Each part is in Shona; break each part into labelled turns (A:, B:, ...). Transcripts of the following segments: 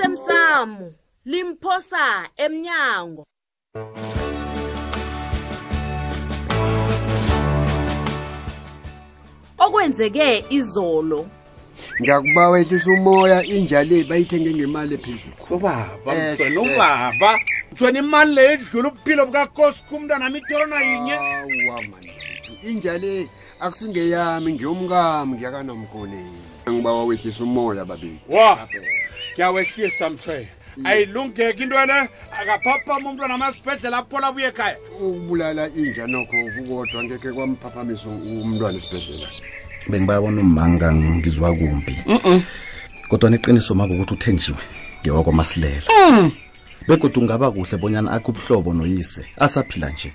A: osemsamo limphosa emnyango okwenzeke izolo
B: ngiyakuba wehlisa umoya inja le bayithenge ngemali ephezulu
C: ubaba
B: Eh,
C: mtwana
B: eh.
C: ubaba mtwana imali leyo edlula ubuphilo bukakosuku umntwana ami itorona yinye
B: awa manethu inja le akusingeyami ngiyomkami ngiyakanomkoneni angiba wawehlisa umoya babili
C: wa Hmm. ngiyawehlisa msele ayilungeki into ele akaphaphama umntwana amasibhedlela aphola abuye ekhaya
B: ukubulala inja nokho kukodwa ngekhe kwamphaphamisa umntwana esibhedlela
D: bengiba bona ummanga ngizwa kumbi kodwa niqiniso mako ukuthi uthenjiwe ngewakwamasilela begodwa ungaba kuhle bonyana akhe ubuhlobo noyise asaphila nje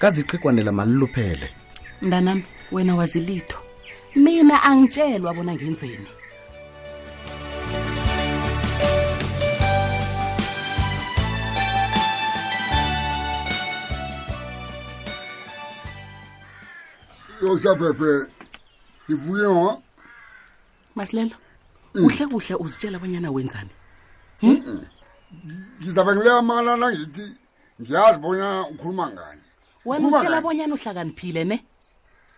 D: kaziqigwanela maliluphele
E: mntanami wena wazi litho mina angitshelwa bona ngenzeni
B: yosaphephe sivuye ho
E: masilela kuhle kuhle uzitshela abanyana wenzani
B: ngizabe ngileyamala nangithi ngiyazi bona ukhuluma ngani
E: wena
B: Ukhuluma
E: uzitshela
B: ngani?
E: abonyana uhlakaniphile ne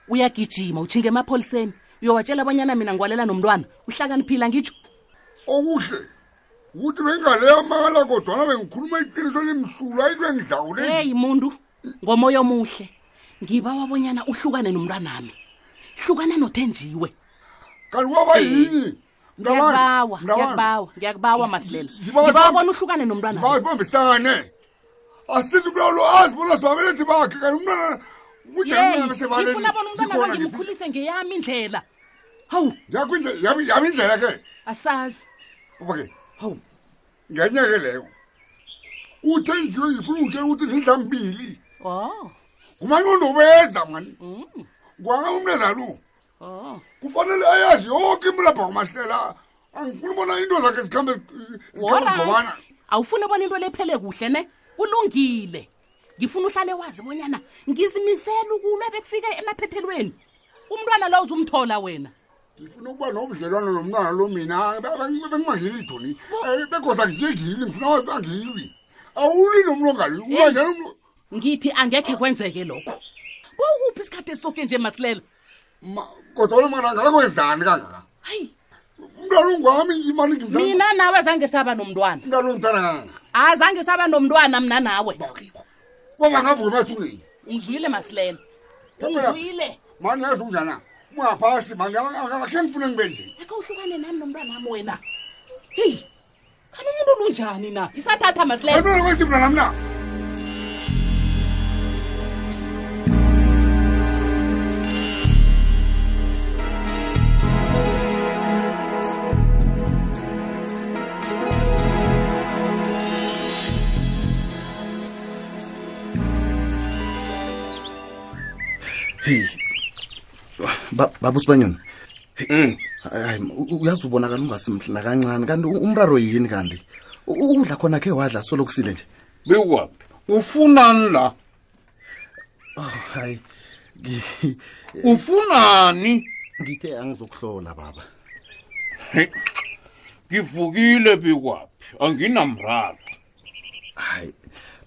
E: uyagijima utshinga emapholiseni uyowatshela abanyana mina ngwalela nomntwana uhlakaniphile angitsho
B: okuhle ukuthi bengaleyamala kodwana bengikhuluma iqiniso limsulu ayitwe ngidlawule
E: heyi muntu ngomoya omuhle ngiba wabonyana uhlukane nomntwanami hlukane nothenjiwe
B: kanti kwaba yini
E: ngiyakubawa ngiyakubawa ngiyakubawa masilela
B: Ngibawa
E: ngiba
B: sibambe-
E: wabona uhlukane nomntwanami
B: bayibambisane asize umlalo azi bona sibabelethi bakhe kanti umntwana kude
E: yeyi
B: umntwana sebaleni.
E: ngifuna bona umntwana
B: Ngikhona ngiphi-
E: bangimkhulise ngeyami indlela hawu
B: yakho inde- yami yami indlela ke
E: asazi
B: ubake
E: hawu
B: ngenye ke leyo uthenjiwe yifunke ukuthi zidlambili
E: o
B: umanqondo ubeza mani
E: Mm.
B: kwanga umneza lo
E: o
B: kufanele ayazi yonke imlapha kwamahlela angifuni bona into zakhe zikhambe zi- zikhambe zigobana
E: awufuni bona into lephele kuhle ne kulungile ngifuna uhlale wazi bonyana ngizimisela ukulwa bekufika emaphethelweni umntwana lo uzumthola wena
B: ngifuna ukuba nobudlelwano nomntwana lo mina be- be- bengimangili idoni Eh, begoda ngiyegili ngifuna angilwi awuli nomlongali uba
E: Hey.
B: njani umntu-
E: ngithi angekhe kwenzeke lokho kukuphi isikhathi esisoke nje masilela
B: Ma- kodwa mara ngakwenzani kangaka
E: hayi
B: umntwana ungwami imali ngimntana
E: mina nawe zange saba nomntwana
B: umntwana ongithanda kangaka
E: azange saba nomntwana mna nawe
B: bakibo baba ngavuka emathuneni
E: ungizwile masilela
B: Phela-
E: ungizwile
B: mani yazi unjana ungaphasi mani akhe ngifune ngibe nje
E: akhe uhlukane nami nomntwanami wena heyi kana umuntu olunjani na isathatha masilela
B: antwana kwesi mna namna
D: heyi babusibanyoni hayi u- uyazi ubonakala ungasimhle nakancane kanti u- umraro yini kanti U- ukudla khona khe wadla solokusile nje
C: biwaphi ufunani la
D: Oh, hayi
C: ufunani
D: ngithe angizokuhlola baba
C: ngivukile biwaphi anginamraro
D: hayi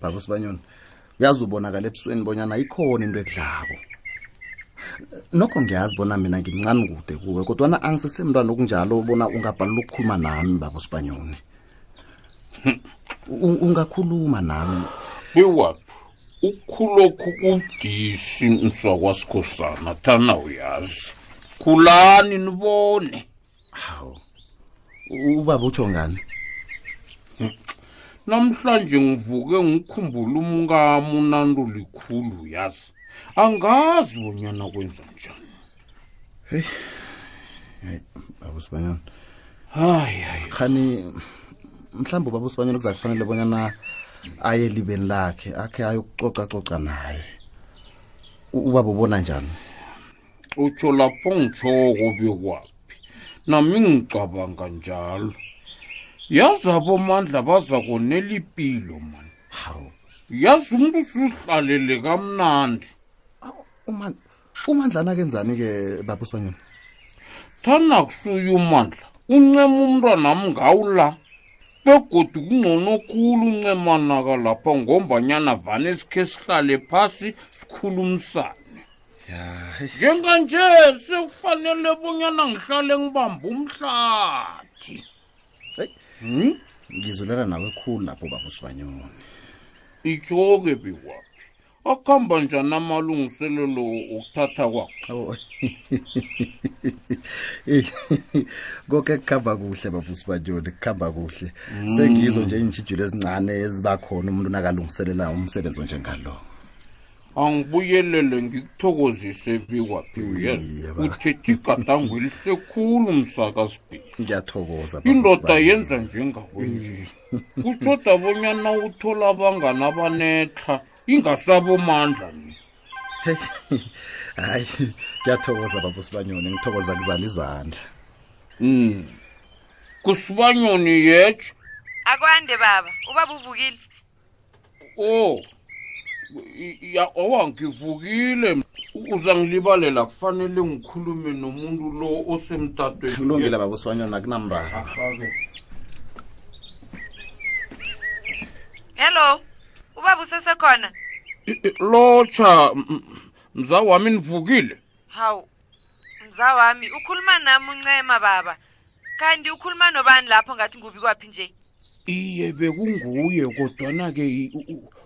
D: baba sibanyoni uyazi ubonakala ebusweni bonyana ikhona into ekudlako nokho ngiyazi bona mina ngimncane kude kuwe kodwana angisesemntwana okunjalo bona ungabhalela ukukhuluma nami baba sibanyoni U- ungakhuluma nami
C: biwaphi ukhulokhu kubudisi msakwasikhosana thana uyazi khulani nibone
D: hawu U- ubaba utsho ngani
C: namhlanje ngivuke ngikhumbula umkami unanto likhulu yazi angazi bonyana kwenza njani
D: baba sibanyoni
C: hayi hayi
D: khani mhlawumbe ubaba usibanyoni kuza kufanele bonyana aye elibeni lakhe akhe ayokucocacoca naye U- ubaba ubona njani
C: utsho lapho ngitshoko bekwaphi nami ngicabanga njalo yazi abomandla baza konela ipilo mani
D: hawu
C: yazi umntu usuzihlalele kamnandi
D: Uma- umandlana kenzani-ke baba usibanyoni
C: thana kusuye umandla uncema umntwanam ngawula begodu kungcono khulu uncemanaka lapha ngombanyana vane sikhe sihlale phasi sikhulumisane njenganje sekufanele bonyana ngihlale ngibamba umhlathi Hmm?
D: heyi ngizulela nawe khulu lapho baba usibanyoni
C: itsho-ke bikwaphi akuhamba njani amalungiselelo okuthatha kwakho
D: Oh. Eh, konke kukhamba kuhle babusi banyoni kukhamba kuhle sengizo nje iintshijilo ezincane eziba khona umuntu nakalungiselela umsebenzi onjengalo
C: angibuyelele ngikuthokozise bikwaphi uyeza uthethe igadango elihle khulu msakasibhili
D: ngiyathokoza Baba
C: indoda
D: Sibanye.
C: yenza njengakwenje kutshoda bonyana uthola abangani abanetlha ingasabomandla ni
D: hayi ngiyathokoza babusi banyoni ngithokoza kuzala izandla
C: Mm. kusibanyoni yetsho
F: akwande baba ubaba uvukile
C: o i- i- ya- awa ngivukile U- uzangilibalela kufanele ngikhulume nomuntu lo osemtatweni
D: kulungile babusi banyoni akunamrara
C: Ake.
F: hello ubaba usesekhona
C: I- i- lotsha m- m- mzawami nivukile
F: hawu mzawami ukhuluma nami uncema baba kanti ukhuluma nobani lapho ngathi ngubi kwaphi nje
C: iye bekunguye kodwana-ke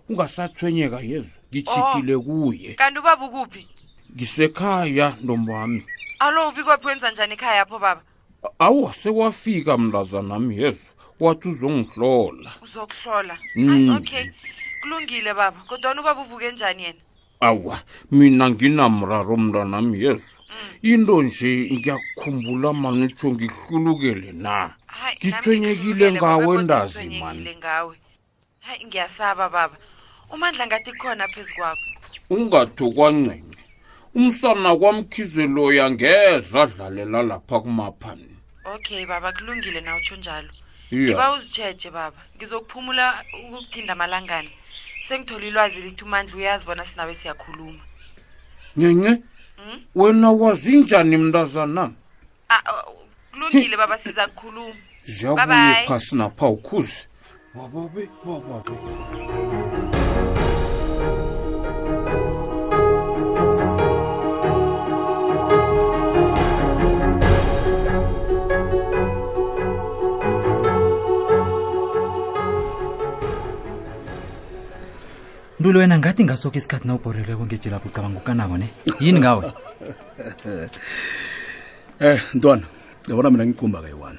C: ungasathwenyeka yezo ngijikile
F: Ah.
C: kuye
F: kanti ubaba ukuphi
C: ngisekhaya ntombami
F: alo ubi kwaphi wenza njani ekhaya apho baba
C: A- awa sekwafika mlazanami yezo wathi uzongihlola
F: uzokuhlola
C: Mm.
F: Ay, okay kulungile baba kodwana ubaba uvuke njani yena
C: awa mina nginamraro mntanami yezo
F: Mm.
C: into nje ngiyakukhumbula mani utsho ngihlulukele na
F: Hayi, nami
C: ngithwenyekile
F: ngithulukile baba,
C: ngawe
F: kodwa
C: ndazi
F: ngithwenyekile
C: mani
F: ngawe hayi ngiyasaba baba umandla ngathi khona phezu kwakho
C: ungathokwancenye umsana kwamkhizeloya ngeze adlalela lapha kumaphani
F: okay baba kulungile na utsho njalo ngiba
C: iya
F: uzitsheje baba ngizokuphumula ukukuthinda amalangana sengithole ilwazi lithi umandla uyazi bona sinawe siyakhuluma
C: nyenye
F: Mm?
C: wena wazi njani mntazanami
F: Ah, ah, kulungile baba siza kukhuluma
C: ziyabuye
F: Bye-bye.
C: phasi napha ukhuze wababe wababe
G: ntulo wena ngathi ngasokho isikhathi nawubhoreleko ngejilapho ucabanga ukanako ne yini ngawe
H: Eh ntwana yabona mina ngiqhumba kayi-one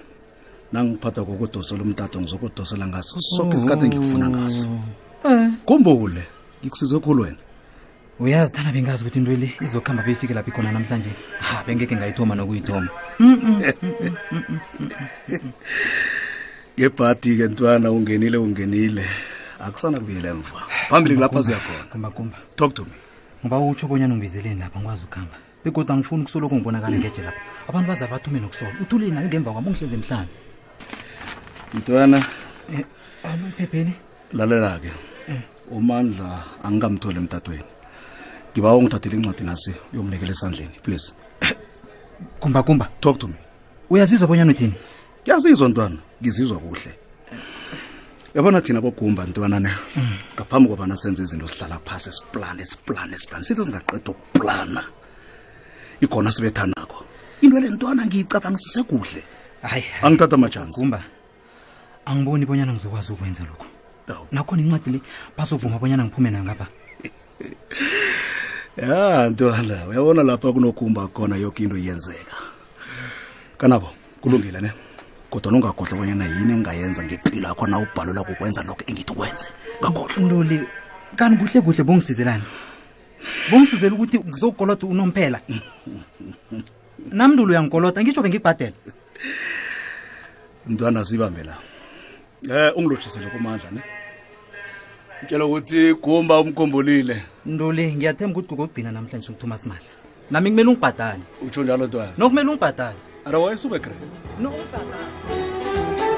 H: nangiphatha kokudosela umtato ngizokudosela ngaso sokho isikhathi engikufuna ngaso kumbule ngikusize khulu wena
G: uyazi thana bengazi ukuthi into le izokuhamba beyifike lapho ikhona namhlanje ha bengeke ngayithoma nokuyithoma
H: ngebhadi-ke ntwana ungenile ungenile akusana kubuyela emva phambili lapha ziyakhona
G: kumbakumba
H: talk to me
G: ngoba utsho bonyana ungibizeleni lapha ngikwazi ukuhamba begodwa angifuni ukusoloko ngibonakala ngeje lapha abantu baza bathume nokusola uthulile nami ngemva kwami ungihlezi emhlanje
H: ntwana
G: Eh, alo iphepheni
H: lalela-ke umandla angingamtholi emtatweni ngiba ungithathele incwadi nasi uyomnikela esandleni please
G: kumbakumba
H: talk to me
G: uyazizwa bonyana uthini
H: kuyazizwa ntwana ngizizwa kuhle yabona thina bogumba ntwana ne ngaphambi kwabana senze izinto sihlala phasi siplane siplane siplane sithi singaqeda ukuplana ikhona sibethanako into le ntwana ngiyicabangisise kuhle
G: hayi
H: angithatha amajansi
G: kumba angiboni bonyana ngizokwazi ukwenza lokhu
H: Awu.
G: nakhona incwadi le bazovuma bonyana ngiphume nayo ngapha
H: ya ntwana uyabona lapha kunogumba khona yoke into iyenzeka kanabo kulungile ne kodwa nongakhohlwa abanyana yini engingayenza ngempilo yakho na ubhalelwa kukwenza lokho engithi ukwenze ngakhohlwa
G: into le kanti kuhle kuhle bongisizelani bongisizela ukuthi ngizokukoloda unomphela namndulo uyangikoloda ngitsho bengikubhadela
H: mntwana sibambe la eh ungilotshisele kumandla ne mtshela ukuthi gumba umkhumbulile
G: into le ngiyathemba ukuthi kokokugcina namhlanje sokuthuma simahla nami kumele ungibhadale
H: utsho njalo ntwana
G: nokumele ungibhadale
H: otherwise ube great
G: no ungibhadale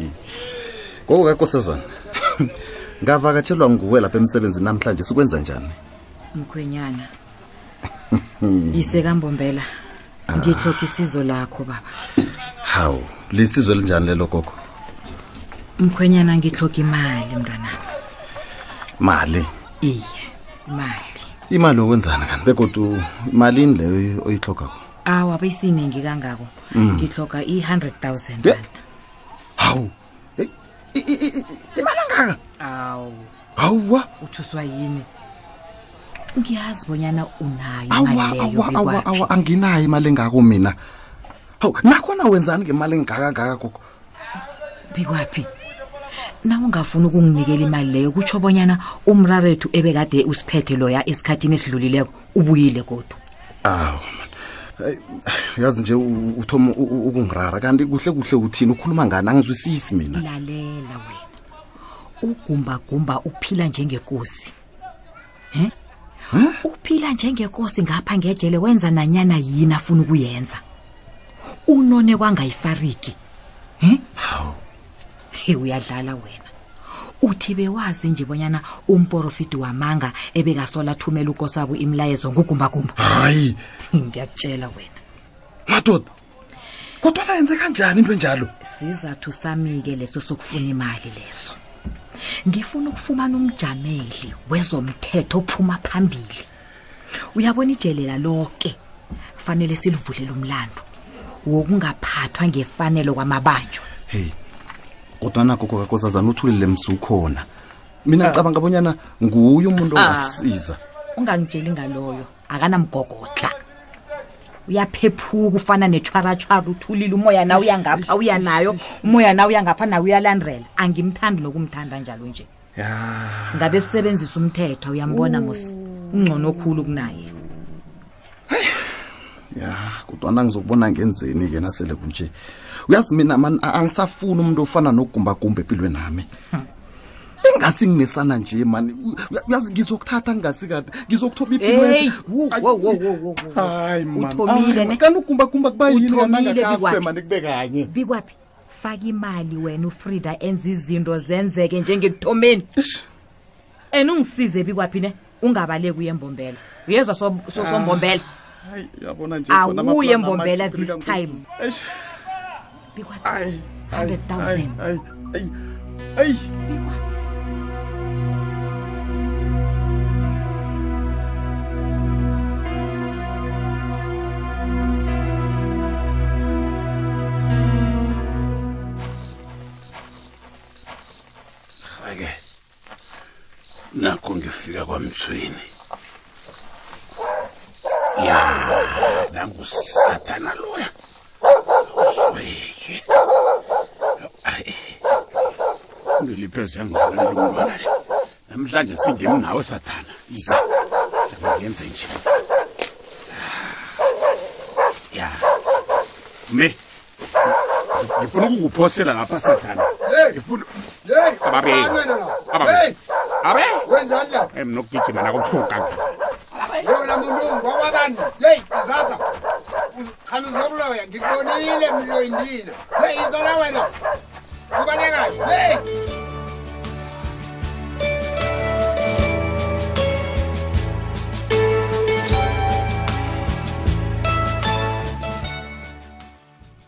D: ngoko kakosazana ngavakatshelwa nguwe lapha emsebenzini namhlanje sikwenza njani
I: mkhwenyana yise kambombela ngihloka isizo lakho baba
D: Ah. hawu lisizwe elinjani lelo gogo
I: mkhwenyana ngihloka imali mntwanami
D: mali
I: iye imali
D: imali okwenzana kanti begodu malini leyo oyihlogako
I: awa beyisinengi kangako
D: Mm.
I: ngihloka i-hundred thousand
D: Ye-
I: rand
D: hawu hey, i- i- i- i- imali angaka
I: awu
D: hawuwa
I: uthuswa yini ngiyazi bonyana unayo
D: awa
I: imali leyo
D: awa awa
I: bekwaphi
D: awa anginayo imali engako mina hawu nakhona wenzani ngemali engakangaka gogo
I: bekwaphi na ungafuni ukunginikela imali leyo kutsho bonyana umrarethu ebekade usiphethe loya esikhathini esidlulileko ubuyile kodwa
D: awu yazi nje u- uthoma u- u- ukungirara kanti kuhle kuhle uthini ukhuluma ngani angizwisisi mina
I: lalela wena ugumbagumba uphila njengekosi he uphila njengekosi ngapha ngejele wenza nanyana yini afuna ukuyenza unone kwangayifariki he he uyadlala wena uthi bewazi nje bonyana umporofidi wamanga ebekasola athumela ukosabo imlayezo ngugumbagumba
D: hayi
I: ngiyakutshela wena
D: madoda kodwa layenze kanjani into enjalo
I: sizathu sami-ke leso sokufuna imali leso ngifuna ukufumana umjameli wezomthetho ophuma phambili uyabona ijelela lonke kufanele silivulele umlando wokungaphathwa ngefanelo kwamabanjwa
D: heyi kodwana gogo kakosazana uthulile msi ukhona
I: Ah.
D: mina ngicabanga bonyana nguye umuntu ongasiza
I: ungangitsheli ngaloyo akanamgogodla uyaphephuka ufana netshwaratshwara uthulile umoya na uyangapha uyanayo umoya na uyangapha nawe uyalandrela angimthandi nokumthanda njalo nje singabe sisebenzisa umthetho uyambona mos ungcono okhulu kunaye
D: ya kodwana ngizokubona ngenzeni-ke nasele kunje uyazi mina mani a- angisafuni umuntu ofana nogumbagumba empilweni nami
I: Hmm.
D: ingasi nginesana nje mani U- uya- uyazi ngizokuthatha ngingasi kade ngizokuthoba
I: Hey, wo, wo, wo, wo, wo, wo. Uthomile ne?
D: kanti ugumbagumba kuba yini wena
I: Uthomile
D: angakafe
I: bikwaphi?
D: mani kube kanye
I: bikwaphi faka imali wena ufrida enza izinto zenzeke njengekuthomeni and ungisize bikwaphi ne ungabaleki uye embombela uyezwa so- so- sombombela
D: hayi uyabona nje khona
I: awuye
D: ama-plan
I: embombela
D: amatshiphile
I: this
D: kangokuthi-
I: time
D: Eish,
I: bikwaphi
D: ayi, ayi,
I: 100,000.
D: ayi, ayi, ayi.
H: ake nakho ngifika kwamthweni ya nangusathana loya usweke ndilipheze yangibonela umntwana le namhlanje singeni nawe sathana iza ngenze nje ya me ngifuna ukukuphosela lapha sathana ngifuna
B: Hey,
H: Ababili. Ababili.
B: Hey,
H: abe
B: wenzani la?
H: emnokugijima nakobuhlungu kanga
B: Yona muntu wakwabani? Hey, izapha. Khani uzobulawa ngikubonile mloyindile. Hey, izola wena. Kubaneka. Hey.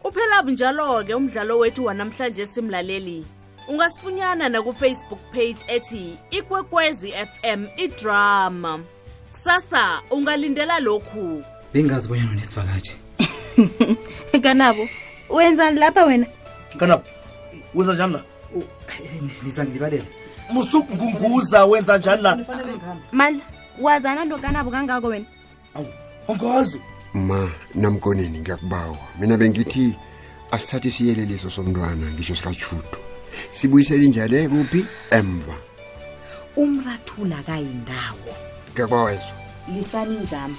A: Uphela bunjalo ke umdlalo wethu wanamhlanje simlaleli. Ungasifunyana na ku Facebook page ethi Ikwekwezi FM iDrama. Kusasa ungalindela lokhu.
G: bengazi bonyana unesivakashi
J: kanabo wenzani lapha wena
K: kanabo wenza njani la
G: Oh, eh, nizangilibalela
K: musukunguza wenza njani la
J: mandla wazana nto kanabo kangako wena
K: awu angazi
B: ma namkoneni ngiyakubawa mina bengithi asithathe isiyeleliso somntwana ngisho sikachudo sibuyisele njalo kuphi emva
I: umrathula kayindawo
B: ngiyakubawa yezo
I: lisani njama